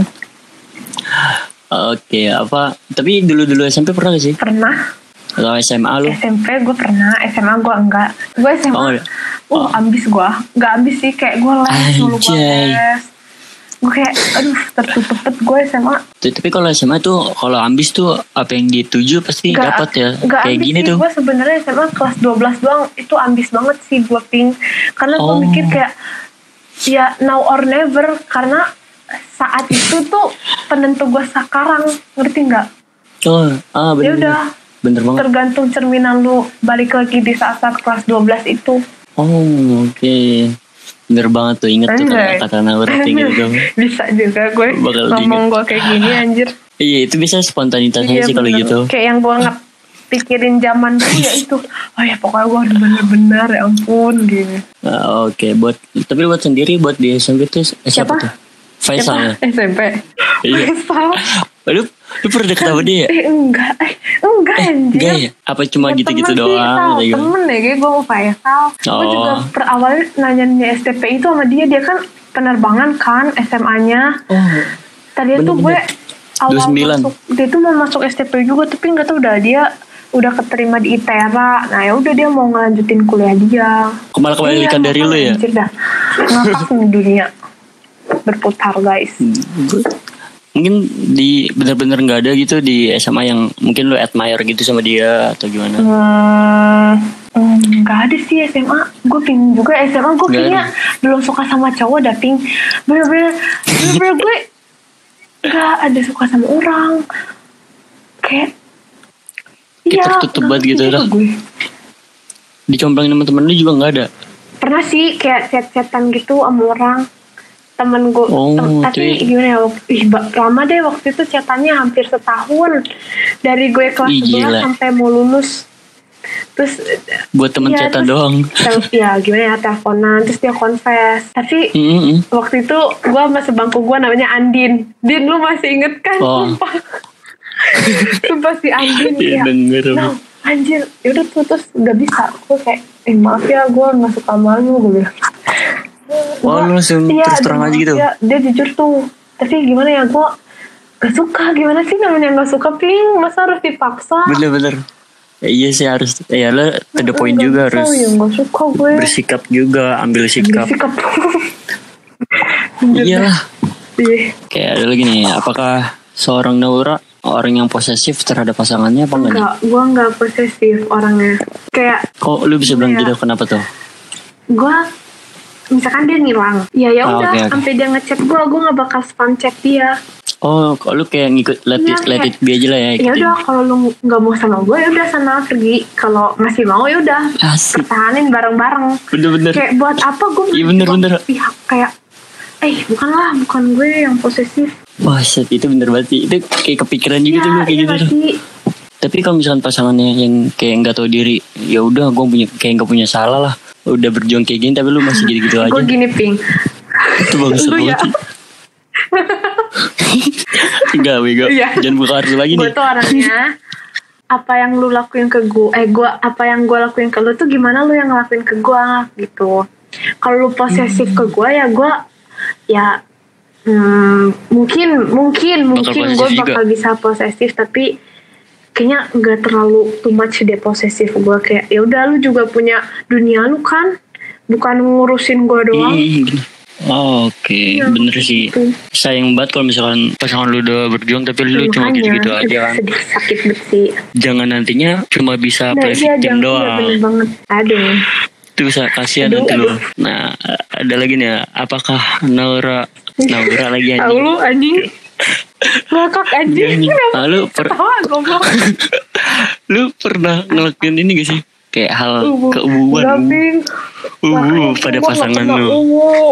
Speaker 1: Oke, apa? Tapi dulu-dulu SMP pernah gak sih?
Speaker 2: Pernah
Speaker 1: Atau SMA lu?
Speaker 2: SMP gue pernah, SMA gue enggak. Gue SMA.
Speaker 1: Oh, iya.
Speaker 2: Uh, ambis gue. Enggak ambis sih kayak gue les dulu gue
Speaker 1: Anjay.
Speaker 2: les. Gue kayak aduh tertutup banget gue SMA.
Speaker 1: Tuh, Tapi kalau SMA tuh kalau ambis tuh apa yang dituju pasti
Speaker 2: Enggak-
Speaker 1: dapat ya.
Speaker 2: enggak
Speaker 1: Kayak
Speaker 2: ambis
Speaker 1: gini
Speaker 2: sih.
Speaker 1: tuh.
Speaker 2: Gue sebenarnya SMA kelas 12 doang itu ambis banget sih gue ping. Karena gue
Speaker 1: Oh.
Speaker 2: mikir kayak ya now or never karena saat itu tuh penentu gue sekarang ngerti nggak?
Speaker 1: Oh, ah bener.
Speaker 2: Ya udah.
Speaker 1: Bener banget.
Speaker 2: tergantung cerminan lu balik lagi di saat-saat kelas 12 itu.
Speaker 1: Oh, oke. Bener banget tuh. Ingat tuh
Speaker 2: Anjay.
Speaker 1: kata-kata Nawar gitu dong.
Speaker 2: Bisa juga gue
Speaker 1: Bakal
Speaker 2: ngomong gue kayak gini anjir.
Speaker 1: Iya, itu biasanya spontanitasnya
Speaker 2: Iya,
Speaker 1: sih kalau
Speaker 2: bener.
Speaker 1: gitu.
Speaker 2: Kayak yang gue nggak pikirin zaman dulu ya itu. Oh ya pokoknya gue udah bener-bener ya ampun gitu.
Speaker 1: Ah, oke, buat tapi buat sendiri buat di SMP tuh siapa,
Speaker 2: Siapa? Eh,
Speaker 1: tuh? Faisal ya.
Speaker 2: SMP.
Speaker 1: Iya.
Speaker 2: Faisal.
Speaker 1: Lu, lu pernah deket sama dia ya?
Speaker 2: Eh enggak. Eh, enggak. enggak anjir.
Speaker 1: Enggak ya? Apa cuma
Speaker 2: Ya,
Speaker 1: gitu-gitu
Speaker 2: temen sih,
Speaker 1: doang?
Speaker 2: Sal.
Speaker 1: gitu?
Speaker 2: Temen ya, deh, gue mau Faisal. Gue
Speaker 1: Oh.
Speaker 2: juga per awalnya nanyanya STP itu sama dia, dia kan penerbangan kan SMA-nya.
Speaker 1: Oh,
Speaker 2: Tadi tuh gue
Speaker 1: Bener-bener.
Speaker 2: awal
Speaker 1: 29.
Speaker 2: masuk, dia tuh mau masuk STP juga, tapi nggak tau udah dia udah keterima di ITERA. Nah ya udah dia mau ngelanjutin kuliah dia.
Speaker 1: kembali kembalikan dari lu ya?
Speaker 2: Iya, Anjir dah. Ngakak nih dunia berputar guys.
Speaker 1: Mungkin di bener-bener nggak ada gitu di SMA yang mungkin lu admire gitu sama dia atau gimana?
Speaker 2: Hmm, hmm, nggak ada sih SMA. Gue ping juga SMA.
Speaker 1: Nggak
Speaker 2: Gue kayaknya
Speaker 1: ada.
Speaker 2: belum suka sama cowok dah ping. Bener-bener, bener-bener gue nggak ada suka sama orang. Kayak
Speaker 1: Kayak
Speaker 2: Iya,
Speaker 1: tertutup banget
Speaker 2: nggak ngerti
Speaker 1: gitu
Speaker 2: juga
Speaker 1: dah.
Speaker 2: gue.
Speaker 1: Dicomblangin sama temen lu juga nggak ada?
Speaker 2: Pernah sih kayak chat-chatan gitu sama orang temen gue
Speaker 1: Oh,
Speaker 2: Tem- tapi
Speaker 1: cuy.
Speaker 2: gimana ya waktu, ih, ba- lama deh waktu itu chatannya hampir setahun dari gue kelas
Speaker 1: Ih,
Speaker 2: 11
Speaker 1: gila.
Speaker 2: sampai mau lulus terus
Speaker 1: Buat temen
Speaker 2: Iya,
Speaker 1: chatan
Speaker 2: terus-
Speaker 1: doang.
Speaker 2: tel- ya gimana ya teleponan terus dia confess tapi
Speaker 1: Mm-mm.
Speaker 2: waktu itu gue sama sebangku gue namanya Andin Din lu masih inget kan
Speaker 1: Oh.
Speaker 2: sumpah <laughs> sumpah si Andin
Speaker 1: Iya,
Speaker 2: ya
Speaker 1: denger.
Speaker 2: nah anjir yaudah tuh terus gak bisa gue kayak eh maaf ya gue gak suka malu gue bilang
Speaker 1: Wah, Oh, lu
Speaker 2: Gua-
Speaker 1: langsung terus terang
Speaker 2: dia
Speaker 1: aja gitu?
Speaker 2: maaf ya. dia jujur tuh tapi gimana ya gue gak suka gimana sih namanya gak suka ping masa harus dipaksa
Speaker 1: Bener-bener. Ya, iya sih harus. Ya lu to the point
Speaker 2: Gak
Speaker 1: juga
Speaker 2: bisa,
Speaker 1: harus
Speaker 2: ya, gak suka gue
Speaker 1: bersikap juga, ambil sikap.
Speaker 2: bersikap <laughs>
Speaker 1: Iyalah.
Speaker 2: Iya.
Speaker 1: Kayak ada lagi nih, apakah seorang Naura orang yang posesif terhadap pasangannya apa enggak? nih?
Speaker 2: Enggak, gue enggak posesif orangnya. Kayak
Speaker 1: Kok lu bisa bilang
Speaker 2: Iya.
Speaker 1: gitu kenapa tuh?
Speaker 2: gue misalkan dia ngilang ya ya
Speaker 1: Ah,
Speaker 2: udah
Speaker 1: oke, oke.
Speaker 2: sampai dia ngechat gue gue nggak bakal spam chat dia
Speaker 1: Oh, kok lu kayak ngikut let it,
Speaker 2: Iya,
Speaker 1: let it be aja lah ya.
Speaker 2: ya
Speaker 1: gitu.
Speaker 2: udah kalau lu nggak mau sama gue ya udah sana pergi kalau masih mau ya udah
Speaker 1: Asik.
Speaker 2: pertahanin bareng-bareng
Speaker 1: Bener-bener.
Speaker 2: kayak buat apa gue
Speaker 1: Iya, bener, bener.
Speaker 2: pihak kayak eh bukanlah bukan gue yang posesif
Speaker 1: Wah, set, itu bener banget sih. Itu kayak kepikiran juga tuh gue kayak
Speaker 2: iya
Speaker 1: gitu.
Speaker 2: nggak
Speaker 1: tuh.
Speaker 2: sih?
Speaker 1: Tapi kalau misalkan pasangannya yang kayak nggak tahu diri, ya udah gue punya kayak nggak punya salah lah. Udah berjuang kayak gini tapi lu masih gitu-gitu aja.
Speaker 2: gue gini ping
Speaker 1: Itu bagus
Speaker 2: Lu ya. <laughs>
Speaker 1: banget. Enggak, Wigo.
Speaker 2: Iya.
Speaker 1: Jangan buka kartu lagi
Speaker 2: gue
Speaker 1: nih.
Speaker 2: tuh orangnya apa yang lu lakuin ke gue eh gue apa yang gue lakuin ke lu tuh gimana lu yang ngelakuin ke gue gitu kalau lu posesif ke gue ya gue ya hmm, mungkin mungkin mungkin gue
Speaker 1: posesif
Speaker 2: bakal bisa posesif tapi kayaknya nggak terlalu too much dia posesif gue kayak ya udah lu juga punya dunia lu kan bukan ngurusin gue doang Iya, gitu.
Speaker 1: Ih, gini. Oh, Mm, Oke, bener sih. Sayang banget kalau misalkan pasangan lu udah berjuang tapi lu cuma
Speaker 2: Makanya,
Speaker 1: gitu-gitu aja kan.
Speaker 2: <laughs> sedih sakit banget sih
Speaker 1: Jangan nantinya cuma bisa
Speaker 2: Nah,
Speaker 1: play
Speaker 2: iya,
Speaker 1: victim
Speaker 2: jangan, iya,
Speaker 1: doang.
Speaker 2: bener banget. Aduh.
Speaker 1: Itu bisa kasihan
Speaker 2: Aduh,
Speaker 1: nanti lu.
Speaker 2: aduh.
Speaker 1: Nah, ada lagi nih. ya. Apakah Naura Naura lagi
Speaker 2: Tahu
Speaker 1: anjing?
Speaker 2: lu anjing. Ngakak anjing.
Speaker 1: Anjing.
Speaker 2: Kenapa?
Speaker 1: Ah, lu per-
Speaker 2: Ketawa goblok.
Speaker 1: lu pernah ngelakuin ini gak sih? Kayak hal
Speaker 2: Uh, Enggak,
Speaker 1: keubuan.
Speaker 2: Ping.
Speaker 1: Ubu
Speaker 2: Makanya
Speaker 1: Uh, pada
Speaker 2: gua
Speaker 1: pasangan
Speaker 2: nggak pernah
Speaker 1: lu.
Speaker 2: Ungu.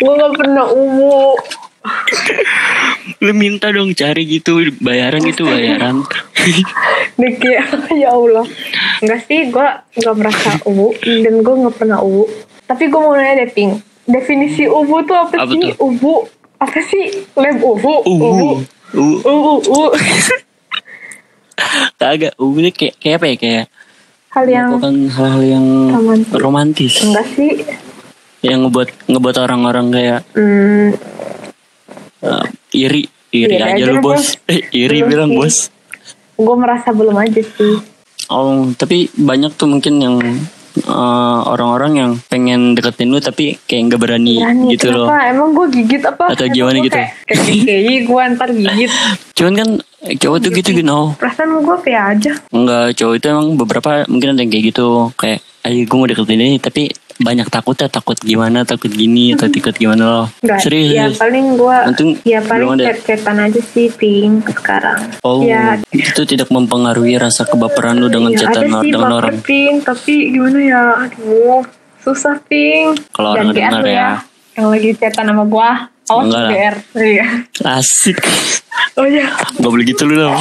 Speaker 2: Gue gak pernah ungu.
Speaker 1: Lu minta dong cari gitu bayaran gitu
Speaker 2: <laughs>
Speaker 1: bayaran.
Speaker 2: Nih, kayak, ya Allah. Enggak sih, gue gak merasa ungu. Dan gue gak pernah ungu. Tapi gue mau nanya deh, Ping. Definisi ubu tuh apa,
Speaker 1: Apa
Speaker 2: sih?
Speaker 1: tuh?
Speaker 2: Ubu. Apa sih? Lem ubu. Oh.
Speaker 1: Ubu. Ubu.
Speaker 2: Ubu. Ubu.
Speaker 1: Kagak, ubu tuh kayak kayak apa ya kayak
Speaker 2: Hal yang
Speaker 1: melakukan hal-hal yang
Speaker 2: Hmm. Romantis.
Speaker 1: romantis
Speaker 2: enggak sih
Speaker 1: yang ngebuat ngebuat orang-orang kayak
Speaker 2: Hmm,
Speaker 1: eh, iri iri
Speaker 2: Iri
Speaker 1: aja
Speaker 2: aja
Speaker 1: lu
Speaker 2: lu,
Speaker 1: bos <laughs> Eh, iri
Speaker 2: Belum
Speaker 1: bilang
Speaker 2: sih.
Speaker 1: bos
Speaker 2: gue merasa belum aja sih.
Speaker 1: oh tapi banyak tuh mungkin yang eh, orang-orang yang pengen deketin lu tapi kayak nggak berani,
Speaker 2: Berani.
Speaker 1: gitu
Speaker 2: Kenapa?
Speaker 1: loh
Speaker 2: Emang gue gigit apa?
Speaker 1: Atau
Speaker 2: Emang
Speaker 1: gimana
Speaker 2: gua
Speaker 1: gitu?
Speaker 2: Kayak kayak gue ntar
Speaker 1: <laughs>
Speaker 2: gigit.
Speaker 1: cuman kan eh, cowok
Speaker 2: Iya
Speaker 1: tuh gitu you know
Speaker 2: Perasaan gue kayak aja.
Speaker 1: nggak cowok itu emang beberapa mungkin ada yang kayak gitu kayak ayo gue mau deketin ini tapi banyak takutnya takut gimana takut gini atau takut gimana loh
Speaker 2: Hmm. Enggak.
Speaker 1: serius
Speaker 2: ya
Speaker 1: serius.
Speaker 2: paling gue.
Speaker 1: Untung
Speaker 2: Ya paling
Speaker 1: belum ada.
Speaker 2: chat-chatan aja sih pink sekarang.
Speaker 1: Oh,
Speaker 2: Ya.
Speaker 1: itu tidak mempengaruhi rasa kebaperan lu dengan
Speaker 2: ya,
Speaker 1: chatan
Speaker 2: ada
Speaker 1: or-
Speaker 2: sih
Speaker 1: dengan
Speaker 2: baper
Speaker 1: orang.
Speaker 2: pink tapi gimana ya? Aduh susah pink.
Speaker 1: Kalau
Speaker 2: Dan
Speaker 1: orang dengar
Speaker 2: lu
Speaker 1: ya.
Speaker 2: Yang lagi chatan sama gue. Awas
Speaker 1: Enggak lah.
Speaker 2: GR. Iya. <laughs>
Speaker 1: Asik.
Speaker 2: Oh iya.
Speaker 1: <laughs> Gak boleh gitu lu dong.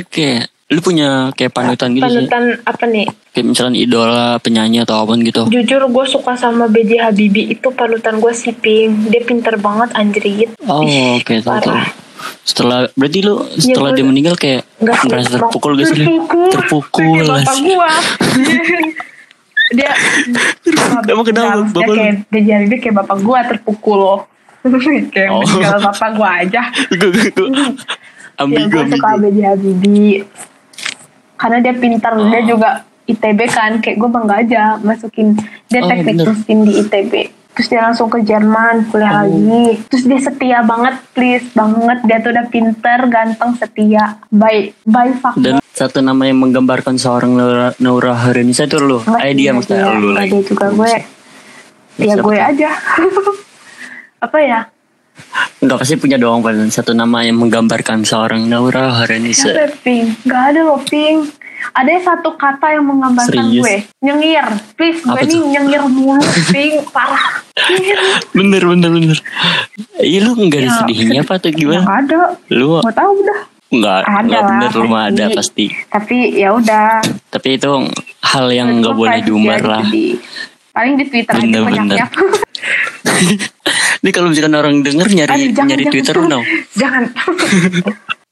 Speaker 1: Oke. Lu punya kayak panutan gitu sih?
Speaker 2: Panutan apa nih?
Speaker 1: Kayak misalkan idola penyanyi atau apapun gitu.
Speaker 2: Jujur gue suka sama BJ Habibie itu panutan gue sih Pink. Dia pinter banget anjrit.
Speaker 1: Oh,
Speaker 2: Ih,
Speaker 1: oke, tahu tahu.
Speaker 2: parah.
Speaker 1: Setelah berarti lu setelah
Speaker 3: gua-
Speaker 1: dia meninggal kayak
Speaker 3: Nggak,
Speaker 1: merasa
Speaker 3: nggak.
Speaker 1: terpukul gitu ya?
Speaker 3: Terpukul.
Speaker 1: Terpukul.
Speaker 3: Kayak bapak
Speaker 1: <laughs>
Speaker 3: gua.
Speaker 2: dia
Speaker 1: Emang kenapa
Speaker 2: Dia
Speaker 1: bapak lu?
Speaker 2: kayak dia jadi dia kayak bapak gua terpukul <laughs> loh kayak
Speaker 1: Oh.
Speaker 2: meninggal bapak gua
Speaker 1: <laughs>
Speaker 2: aja
Speaker 1: Gue gue gue.
Speaker 2: ya,
Speaker 1: Ambigu
Speaker 2: gue suka
Speaker 1: ambigu.
Speaker 2: Abedi Habibie karena dia pintar
Speaker 1: Oh.
Speaker 2: dia juga ITB kan kayak gue bangga aja masukin dia
Speaker 1: Oh,
Speaker 2: teknik
Speaker 1: bener.
Speaker 2: mesin di ITB terus dia langsung ke
Speaker 1: Oh.
Speaker 2: Jerman kuliah lagi terus dia setia banget please banget dia tuh udah pinter ganteng setia baik baik
Speaker 1: Dan
Speaker 2: faktor
Speaker 1: satu nama yang menggambarkan seorang Naura, Naura Haranisa itu lu. Eh dia maksudnya lu lagi.
Speaker 2: Dia ya, iya. juga gue ya
Speaker 1: Siapa
Speaker 2: gue
Speaker 1: tuh?
Speaker 2: aja <laughs> apa ya
Speaker 1: Enggak pasti punya doang paling satu nama yang menggambarkan seorang Naura Haranisa.
Speaker 2: Siapa ya, Pink? Gak ada loh Pink. Ada satu kata yang menggambarkan
Speaker 1: Serius?
Speaker 2: gue. Nyengir. Please, gue
Speaker 1: Apa
Speaker 2: nih
Speaker 1: tuh?
Speaker 2: nyengir
Speaker 1: <laughs>
Speaker 2: mulu Pink. Parah. Nyengir.
Speaker 1: Bener bener bener. Iya lu
Speaker 2: Ya,
Speaker 1: enggak ada sedihnya apa atau gimana?
Speaker 2: Gak ada.
Speaker 1: Lu
Speaker 2: Gak tau udah.
Speaker 1: enggak
Speaker 2: Ya, Ada
Speaker 1: enggak
Speaker 2: lah,
Speaker 1: bener lu mah ada
Speaker 2: pasti.
Speaker 1: pasti.
Speaker 2: Tapi ya udah.
Speaker 1: Tapi itu hal yang enggak
Speaker 2: Gue
Speaker 1: boleh
Speaker 2: privacy
Speaker 1: diumbar
Speaker 2: aja
Speaker 1: lah.
Speaker 2: di- Paling di Twitter aja
Speaker 1: Bener,
Speaker 2: banyaknya. <laughs>
Speaker 1: Ini kalau misalkan orang denger nyari
Speaker 2: Aduh, jangan,
Speaker 1: nyari
Speaker 2: jangan.
Speaker 1: Twitter lu no.
Speaker 2: <laughs>
Speaker 1: <laughs>
Speaker 2: jangan.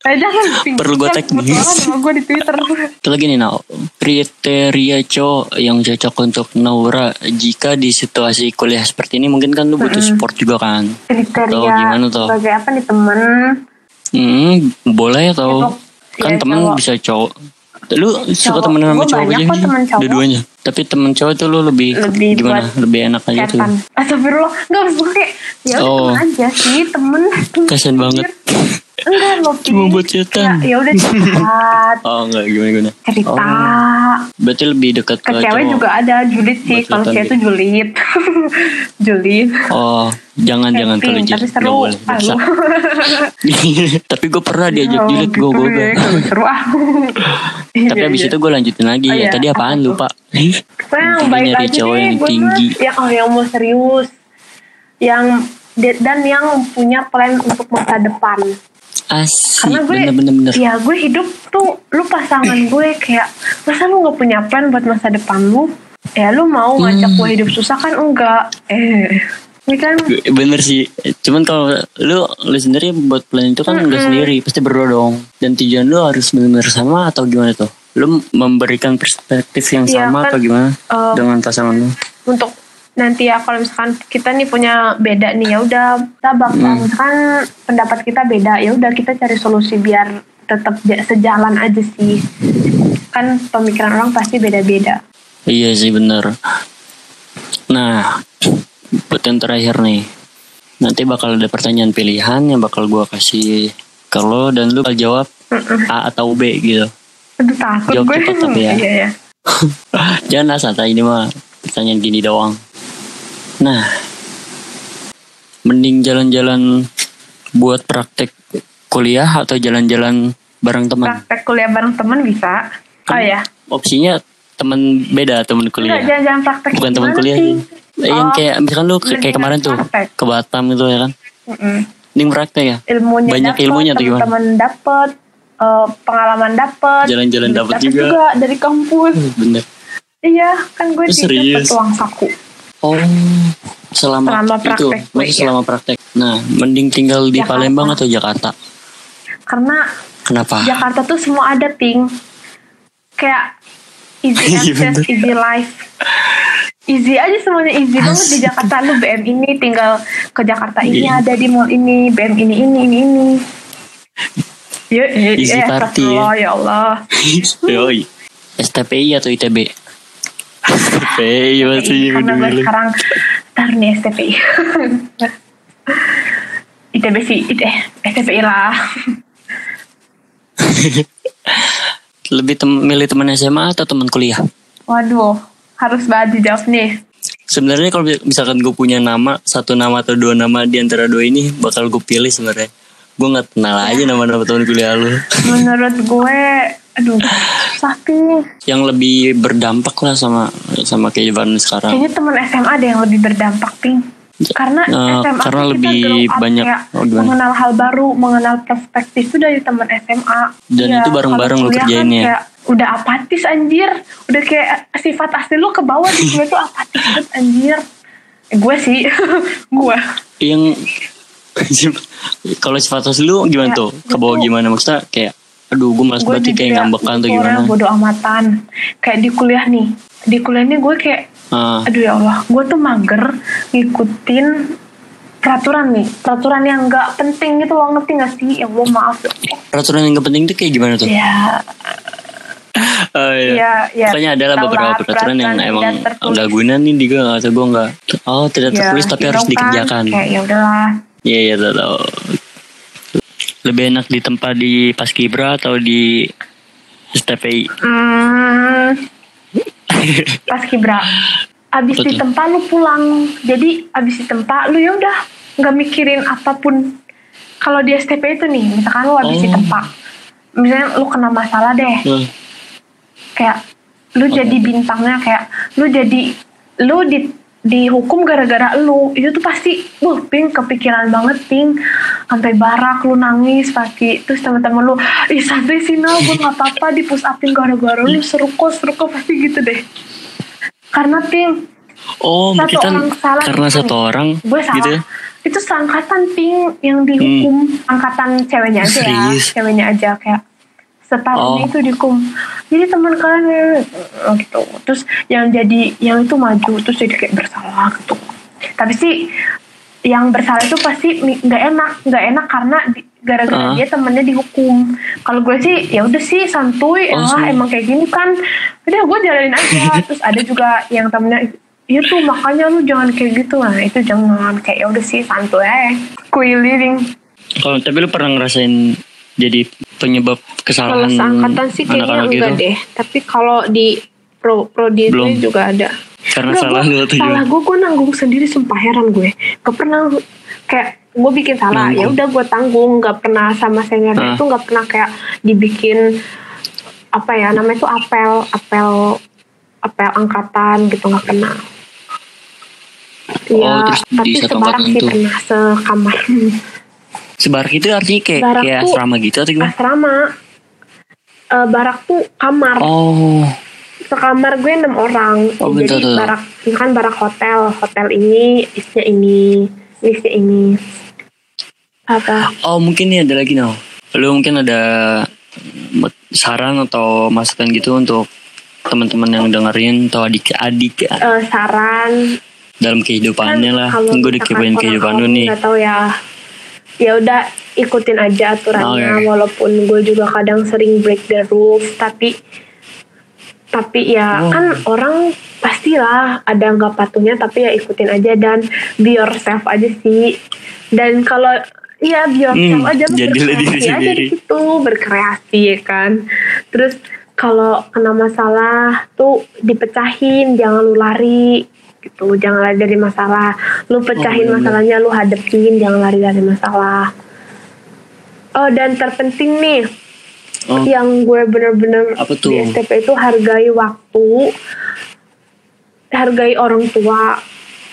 Speaker 2: Eh, jangan Pink.
Speaker 1: Perlu gue
Speaker 2: Jangan
Speaker 1: tag gitu. nih.
Speaker 2: kebetulan sama gue di Twitter.
Speaker 1: Itu lagi nih Nau. Kriteria cowok yang cocok untuk Naura jika di situasi kuliah seperti ini mungkin kan lu butuh support juga kan. Atau
Speaker 2: Kriteria
Speaker 1: gimana tuh?
Speaker 2: sebagai apa nih temen.
Speaker 1: Hmm, boleh atau
Speaker 2: Cowok.
Speaker 1: kan
Speaker 2: Iya,
Speaker 1: temen
Speaker 2: cowok.
Speaker 1: bisa cowok. Lu suka
Speaker 2: Cowok.
Speaker 1: temenan sama
Speaker 2: Gua
Speaker 1: cowok
Speaker 2: banyak
Speaker 1: aja
Speaker 2: kok
Speaker 1: nih?
Speaker 2: temen cowok.
Speaker 1: Dua-duanya. Tapi temen cowok tuh lu lebih,
Speaker 2: Lebih
Speaker 1: gimana?
Speaker 2: buat
Speaker 1: Lebih enak aja tuh.
Speaker 2: Setan. Astagfirullah. Enggak maksud gue kayak ya udah
Speaker 1: Oh.
Speaker 2: temen aja sih, temen.
Speaker 1: Kasian banget.
Speaker 2: Enggak loh. Pi.
Speaker 1: <laughs> Cuma buat setan.
Speaker 2: Ya ya udah
Speaker 1: <laughs>
Speaker 2: curhat,
Speaker 1: Oh enggak gimana gimana.
Speaker 2: cerita.
Speaker 1: Oh, Berarti lebih dekat
Speaker 2: Ke
Speaker 1: ke,
Speaker 2: cewek
Speaker 1: cowok.
Speaker 2: juga ada julid sih.
Speaker 1: Buat
Speaker 2: Kalau
Speaker 1: setan
Speaker 2: cewek
Speaker 1: gitu.
Speaker 2: tuh julid. <laughs> julid.
Speaker 1: Oh, jangan jangan kalau
Speaker 2: Camping,
Speaker 1: jadi
Speaker 2: tapi
Speaker 1: nggak
Speaker 2: seru.
Speaker 1: boleh.
Speaker 2: Ah,
Speaker 1: dosa.
Speaker 2: lu.
Speaker 1: <laughs> tapi gue pernah
Speaker 2: <laughs>
Speaker 1: diajak
Speaker 2: Oh,
Speaker 1: julid gue
Speaker 2: gitu
Speaker 1: gue.
Speaker 2: ya, kalau
Speaker 1: <laughs>
Speaker 2: seru Iya, ah.
Speaker 1: Tapi abis itu gue lanjutin lagi
Speaker 2: Oh,
Speaker 1: ya.
Speaker 2: iya.
Speaker 1: Tadi apaan lupa?
Speaker 2: Yang
Speaker 1: Intinya
Speaker 2: baik
Speaker 1: nyari
Speaker 2: aja
Speaker 1: cowok
Speaker 2: deh,
Speaker 1: yang
Speaker 2: gue mah.
Speaker 1: tinggi.
Speaker 2: Ya kalau yang mau serius. Yang dan yang punya plan untuk masa depan.
Speaker 1: Asik,
Speaker 2: karena gue
Speaker 1: bener-bener.
Speaker 2: ya gue hidup tuh lu pasangan gue kayak masa lu nggak punya plan buat masa depan lu ya lu mau ngajak gue hidup susah kan enggak eh ini kan
Speaker 1: Hmm. Gue- Bener sih. Cuman kalau lu lu sendiri buat plan itu kan enggak sendiri, pasti berdua dong. Dan tujuan lu harus benar-benar sama atau gimana tuh? Lu memberikan perspektif yang
Speaker 2: Iya,
Speaker 1: sama
Speaker 2: kan,
Speaker 1: atau gimana
Speaker 2: eh,
Speaker 1: dengan pasangan lu?
Speaker 2: untuk nanti ya kalau misalkan kita nih punya beda nih ya udah kita bakal
Speaker 1: Hmm.
Speaker 2: misalkan pendapat kita beda ya udah kita cari solusi biar tetap ja- sejalan aja sih kan pemikiran orang pasti beda-beda
Speaker 1: Iya sih bener. Nah, buat yang terakhir nih. Nanti bakal ada pertanyaan pilihan yang bakal gua kasih ke lo dan lu bakal jawab A atau B gitu.
Speaker 2: aduh takut
Speaker 1: Jawab
Speaker 2: gue
Speaker 1: cepat tapi ya.
Speaker 2: <laughs> iya ya
Speaker 1: Ah, Jangan lah santai ini mah pertanyaan gini doang. Nah, mending jalan-jalan buat praktek kuliah atau jalan-jalan bareng teman.
Speaker 2: praktek kuliah bareng teman bisa oh ya
Speaker 1: Opsinya teman beda teman
Speaker 2: Enggak,
Speaker 1: kuliah.
Speaker 2: jangan-jangan praktek
Speaker 1: Bukan teman
Speaker 2: gimana
Speaker 1: kuliah
Speaker 2: sih?
Speaker 1: sih. Eh, Yang
Speaker 2: Oh,
Speaker 1: kayak misalkan lu ke-
Speaker 2: mendingan
Speaker 1: kayak kemarin tuh
Speaker 2: praktek.
Speaker 1: ke Batam gitu ya kan.
Speaker 2: mm-mm.
Speaker 1: Mending praktek ya.
Speaker 2: ilmunya
Speaker 1: Banyak
Speaker 2: dapet,
Speaker 1: ilmunya atau gimana?
Speaker 2: teman dapet eh, pengalaman dapet
Speaker 1: Jalan-jalan
Speaker 2: duit
Speaker 1: dapet juga.
Speaker 2: dari kampus
Speaker 1: Bener.
Speaker 2: iya kan gue
Speaker 1: Lu
Speaker 2: sih
Speaker 1: serius?
Speaker 2: dapet uang saku
Speaker 1: Oh, selama,
Speaker 2: Selama
Speaker 1: itu,
Speaker 2: praktek,
Speaker 1: maksudnya
Speaker 2: iya.
Speaker 1: selama praktek. Nah, mending tinggal di
Speaker 2: Jakarta.
Speaker 1: Palembang atau Jakarta?
Speaker 2: karena
Speaker 1: Kenapa?
Speaker 2: Jakarta tuh semua ada ping kayak easy
Speaker 1: <laughs> Iya,
Speaker 2: access
Speaker 1: bener.
Speaker 2: easy life easy aja semuanya easy banget di Jakarta lu BM ini tinggal ke Jakarta ini
Speaker 1: Iya.
Speaker 2: ada di mall ini BM ini ini ini ini Ya, ya,
Speaker 1: Easy party,
Speaker 2: ya,
Speaker 1: ya.
Speaker 2: astagfirullah, ya Allah.
Speaker 1: Yoi. STPI atau ITB? STPI
Speaker 2: STPI, Iya, karena gue sekarang taruh nih <laughs> STPI ITB sih IT, STPI lah
Speaker 1: Lebih tem- milih teman SMA atau teman kuliah?
Speaker 2: waduh harus banget dijawab nih
Speaker 1: Sebenarnya kalau misalkan gue punya nama satu nama atau dua nama di antara dua ini bakal gue pilih sebenarnya. Gue nggak kenal aja nama-nama teman kuliah lu.
Speaker 2: menurut gue aduh susah Pi.
Speaker 1: Yang lebih berdampak lah sama sama kehidupan lu sekarang.
Speaker 2: kayaknya teman SMA ada yang lebih berdampak ping karena
Speaker 1: Eh,
Speaker 2: SMA
Speaker 1: karena
Speaker 2: tuh
Speaker 1: lebih
Speaker 2: grow up
Speaker 1: banyak-
Speaker 2: kayak
Speaker 1: oh, gimana?
Speaker 2: mengenal hal baru mengenal perspektif itu dari teman SMA
Speaker 1: Dan itu bareng-bareng
Speaker 2: Iya,
Speaker 1: lu
Speaker 2: kalau kuliah kan
Speaker 1: kerjainnya.
Speaker 2: kayak udah apatis anjir udah kayak sifat asli lu ke bawah di <laughs> gue tuh apatis banget anjir Eh, gue sih gue
Speaker 1: Yang <laughs> Kalau sifat khusus lu gimana
Speaker 4: Ya,
Speaker 1: tuh? Ke
Speaker 4: gua
Speaker 1: bawah
Speaker 4: tuh-
Speaker 1: gimana maksudnya? Kayak aduh gue malas
Speaker 4: Gue
Speaker 1: berarti kayak ngambekan atau gimana?
Speaker 4: bodo amatan. Kayak di kuliah nih. Di kuliah nih gue kayak
Speaker 1: Ah,
Speaker 4: aduh ya Allah, gue tuh mager ngikutin peraturan nih, peraturan yang nggak penting gitu loh ngerti gak sih? Ya Allah maaf.
Speaker 1: peraturan yang gak penting tuh kayak gimana tuh?
Speaker 4: Ya,
Speaker 1: Oh, iya.
Speaker 4: ya, ya.
Speaker 1: Pokoknya ada lah
Speaker 4: tau
Speaker 1: beberapa
Speaker 4: lah,
Speaker 1: peraturan yang
Speaker 4: peraturan
Speaker 1: emang
Speaker 4: tidak tertulis.
Speaker 1: nggak guna nih di gue atau gue nggak oh tidak
Speaker 2: Iya,
Speaker 4: ya,
Speaker 1: tertulis tapi
Speaker 4: gitu
Speaker 1: harus
Speaker 4: kan.
Speaker 1: dikerjakan.
Speaker 4: Kayak ya
Speaker 1: <laughs>
Speaker 4: udahlah.
Speaker 1: Iya iya tahu, tahu. Lebih enak di tempat di Paskibra atau di STPI?
Speaker 4: Hmm, pas kibra. Abis
Speaker 1: Betul.
Speaker 4: di tempat lu pulang. Jadi abis di tempat lu ya udah nggak mikirin apapun. Kalau di STP itu nih, misalkan lu abis
Speaker 1: Oh.
Speaker 4: di tempat, misalnya lu kena masalah deh,
Speaker 1: Eh,
Speaker 4: kayak lu jadi bintangnya kayak lu jadi lu di dihukum gara-gara lu itu tuh pasti wah ping kepikiran banget ping sampai barak lu nangis pasti terus teman-teman lu ih santai sih Nel gue nggak apa-apa di push upin gara-gara lu seru kok seru kok pasti gitu deh karena ping
Speaker 1: Oh,
Speaker 4: Satu
Speaker 1: kita
Speaker 4: orang salah
Speaker 1: karena
Speaker 4: gitu.
Speaker 1: satu orang
Speaker 4: gue salah
Speaker 1: gitu ya. Hmm.
Speaker 4: itu seangkatan ping yang dihukum angkatan ceweknya aja ya
Speaker 1: Serius?
Speaker 4: ceweknya aja kayak setahun
Speaker 1: Oh.
Speaker 4: itu dihukum jadi teman kalian eh, gitu terus yang jadi yang itu maju terus jadi kayak bersalah gitu tapi sih yang bersalah itu pasti mi- nggak enak nggak enak karena di- gara-gara
Speaker 1: Ah.
Speaker 4: dia temennya dihukum kalau gue sih ya udah sih santuy
Speaker 1: Oh,
Speaker 4: elah Ya,
Speaker 1: santuy.
Speaker 4: emang kayak gini kan udah gue jalanin
Speaker 1: <laughs>
Speaker 4: aja terus ada juga yang temennya iya tuh makanya lu jangan kayak gitu lah itu jangan kayak ya udah sih santuy aja kui living
Speaker 1: Kalau tapi lu pernah ngerasain jadi penyebab
Speaker 2: Kalau
Speaker 1: kesalahan
Speaker 2: seangkatan sih kayaknya
Speaker 1: Hmm, anak-anak
Speaker 2: enggak
Speaker 1: gitu?
Speaker 2: deh. Tapi kalau di pro prodi gue
Speaker 1: Belum.
Speaker 2: juga ada.
Speaker 1: Karena
Speaker 2: Enggak,
Speaker 1: salah lu
Speaker 2: gua,
Speaker 1: atau
Speaker 2: salah
Speaker 1: gimana?
Speaker 2: gue gue nanggung sendiri sumpah heran gue. Gak pernah kayak gue bikin salah
Speaker 1: Nanggung.
Speaker 2: ya udah gue tanggung nggak pernah sama senior
Speaker 1: Ah.
Speaker 2: itu nggak pernah kayak dibikin apa ya namanya itu apel apel apel angkatan gitu nggak pernah
Speaker 1: Oh,
Speaker 2: Iya,
Speaker 1: terus di
Speaker 2: tapi
Speaker 1: satu
Speaker 2: sebarang
Speaker 1: angkatan Iya.
Speaker 2: sih
Speaker 1: tuh.
Speaker 2: pernah sekamar
Speaker 1: Sebarak itu artinya kayak
Speaker 2: Sebarak
Speaker 1: kayak
Speaker 2: tuh-
Speaker 1: asrama gitu atau gimana?
Speaker 2: asrama eh, barak tuh kamar
Speaker 1: Oh,
Speaker 2: sekamar gue enam orang
Speaker 1: Oh, bentar,
Speaker 2: jadi
Speaker 1: bentar.
Speaker 2: barak misalkan barak hotel hotel ini isnya ini isnya ini apa
Speaker 1: oh mungkin nih ada lagi no. Lu mungkin ada mm, saran atau masukan gitu untuk teman-teman yang dengerin atau adik-adik
Speaker 2: eh, saran
Speaker 1: dalam kehidupannya
Speaker 2: Kan
Speaker 1: lah. Gue udah kepoin kehidupan lu nih.
Speaker 2: nggak tahu ya ya udah ikutin aja aturannya
Speaker 1: Oke.
Speaker 2: walaupun gue juga kadang sering break the rules tapi tapi ya
Speaker 1: Oh.
Speaker 2: kan orang pastilah ada nggak patuhnya tapi ya ikutin aja dan be yourself aja sih dan kalau ya be yourself
Speaker 1: Hmm,
Speaker 2: aja lu
Speaker 1: jadilah diri
Speaker 2: berkreasi aja
Speaker 1: sendiri.
Speaker 2: di situ gitu, berkreasi ya kan terus kalau kena masalah tuh dipecahin jangan lu lari gitu jangan lari dari masalah lu pecahin
Speaker 1: Oh, iya.
Speaker 2: masalahnya lu hadepin jangan lari dari masalah oh dan terpenting nih
Speaker 1: Oh,
Speaker 2: yang gue bener-bener
Speaker 1: Apa tuh?
Speaker 2: di STP itu hargai waktu hargai orang tua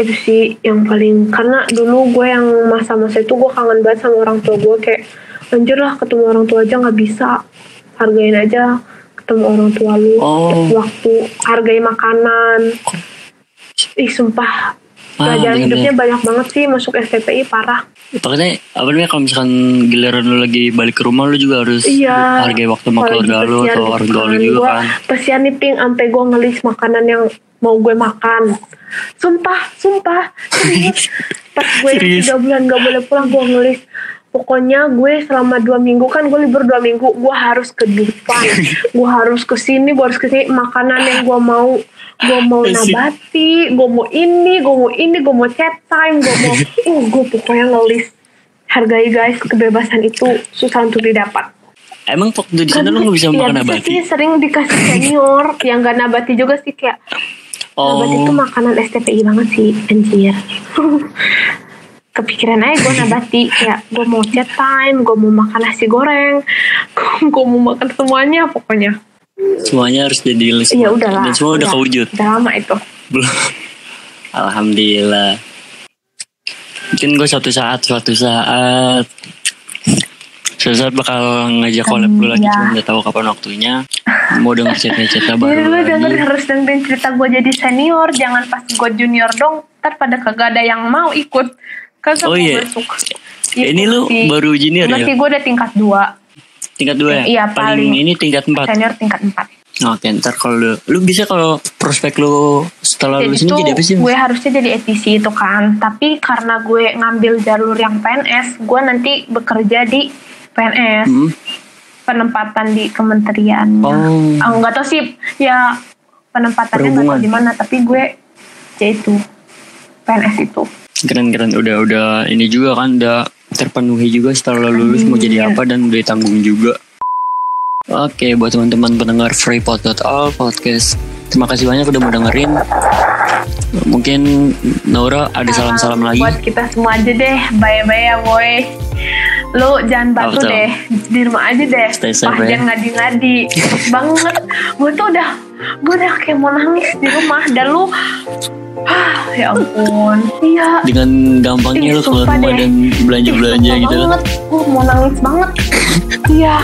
Speaker 2: itu sih yang paling karena dulu gue yang masa-masa itu gue kangen banget sama orang tua gue kayak anjir lah ketemu orang tua aja nggak bisa hargain aja ketemu orang tua lu
Speaker 1: Oh.
Speaker 2: waktu hargai makanan ih sumpah
Speaker 1: bener-bener.
Speaker 2: pelajaran hidupnya banyak banget sih masuk STPI parah
Speaker 1: Pokoknya apa namanya kalau misalkan giliran lu lagi balik ke rumah lu juga harus
Speaker 2: Iya.
Speaker 1: hargai waktu sama
Speaker 2: Apalagi
Speaker 1: keluarga lu
Speaker 2: pesiar
Speaker 1: atau
Speaker 2: gitu
Speaker 1: orang tua lu
Speaker 2: kan.
Speaker 1: juga
Speaker 2: Gua
Speaker 1: kan.
Speaker 2: Pesiar nih ping sampai gue ngelis makanan yang mau gue makan. Sumpah, sumpah.
Speaker 1: <laughs>
Speaker 2: Serius. Pas gue yang
Speaker 1: Serius.
Speaker 2: tiga bulan gak boleh pulang gue ngelis. Pokoknya gue selama dua minggu kan gue libur dua minggu gue harus ke
Speaker 1: <laughs>
Speaker 2: Dufan, gue harus ke sini, gue harus ke sini makanan yang gue mau gue mau
Speaker 1: Asik.
Speaker 2: nabati, gue mau ini, gue mau ini, gue mau chat time, gue
Speaker 1: <laughs>
Speaker 2: mau, uh, gue pokoknya ngelis. Hargai guys kebebasan itu susah untuk didapat.
Speaker 1: Emang waktu di sana lu gak bisa
Speaker 2: Iya,
Speaker 1: makan
Speaker 2: bisa
Speaker 1: abadi?
Speaker 2: sih, sering dikasih senior yang gak nabati juga sih kayak nabati itu
Speaker 1: Oh,
Speaker 2: makanan STPI banget sih anjir <laughs> kepikiran aja gue nabati kayak gue mau chat time gue mau makan nasi goreng <laughs> gue mau makan semuanya pokoknya
Speaker 1: semuanya harus jadi list.
Speaker 4: Iya,
Speaker 2: ya udahlah
Speaker 1: Dan semua udah kewujud.
Speaker 2: udah lama itu
Speaker 1: Belum. Alhamdulillah. Mungkin gue suatu saat, suatu saat, suatu saat bakal ngajak collab lu lagi,
Speaker 4: iya.
Speaker 1: cuma gak tahu kapan waktunya. Mau denger
Speaker 2: Iya,
Speaker 1: cerita-cerita
Speaker 4: jadi
Speaker 1: baru
Speaker 4: lu denger
Speaker 1: lagi.
Speaker 4: harus dengerin cerita gue jadi senior jangan pas gue junior dong ntar pada kagak ada yang mau ikut kagak mau
Speaker 1: Oh, iya.
Speaker 4: masuk
Speaker 2: Gitu
Speaker 1: ini lu
Speaker 2: sih.
Speaker 1: baru junior
Speaker 2: Enggak sih
Speaker 1: ya?
Speaker 2: gue udah tingkat 2
Speaker 1: Tingkat dua ya?
Speaker 2: Iya,
Speaker 1: paling,
Speaker 2: paling.
Speaker 1: ini tingkat empat.
Speaker 2: Senior tingkat 4
Speaker 1: Oke, ntar kalau lu, lu bisa kalau prospek lu setelah
Speaker 2: Jadi
Speaker 1: lulus ini
Speaker 2: tuh
Speaker 1: jadi apa sih? Mas?
Speaker 2: gue harusnya jadi etisi itu kan Tapi karena gue ngambil jalur yang PNS Gue nanti bekerja di PNS
Speaker 1: Hmm?
Speaker 2: Penempatan di kementerian
Speaker 1: Oh.
Speaker 2: Aku nggak tahu sih Ya penempatannya nggak
Speaker 1: Perhubungan.
Speaker 2: tahu di mana Tapi gue ya itu PNS itu
Speaker 1: Keren-keren udah udah ini juga kan udah terpenuhi juga setelah lulus mau jadi
Speaker 2: Iya.
Speaker 1: apa dan udah ditanggung juga. Oke, buat teman-teman pendengar freepod.all podcast. Terima kasih banyak udah mau dengerin. Mungkin Naura ada salam-salam
Speaker 2: Salam
Speaker 1: lagi.
Speaker 2: Buat kita semua aja deh Bye-bye ya boy Lu jangan batu
Speaker 1: Betul.
Speaker 2: deh Di rumah aja deh
Speaker 1: Stay safe, ya.
Speaker 2: Wah, Jangan ngadi-ngadi Takut banget Gue tuh udah Gue udah kayak mau nangis di rumah Dan lu ah, Ya ampun Iya
Speaker 1: Dengan gampangnya
Speaker 2: Ih,
Speaker 1: lu keluar
Speaker 2: Iya, sumpah
Speaker 1: rumah
Speaker 2: deh.
Speaker 1: dan belanja-belanja
Speaker 2: Ih,
Speaker 1: gitu
Speaker 2: sumpah
Speaker 1: kan.
Speaker 2: banget. Gue mau nangis banget Iya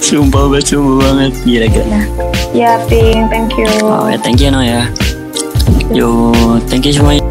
Speaker 1: Sumpah banget, sumpah banget. Gila, gila.
Speaker 2: Ya Pink Thank you
Speaker 1: Oh, ya, thank you, No, ya. Yo, thank you semuanya.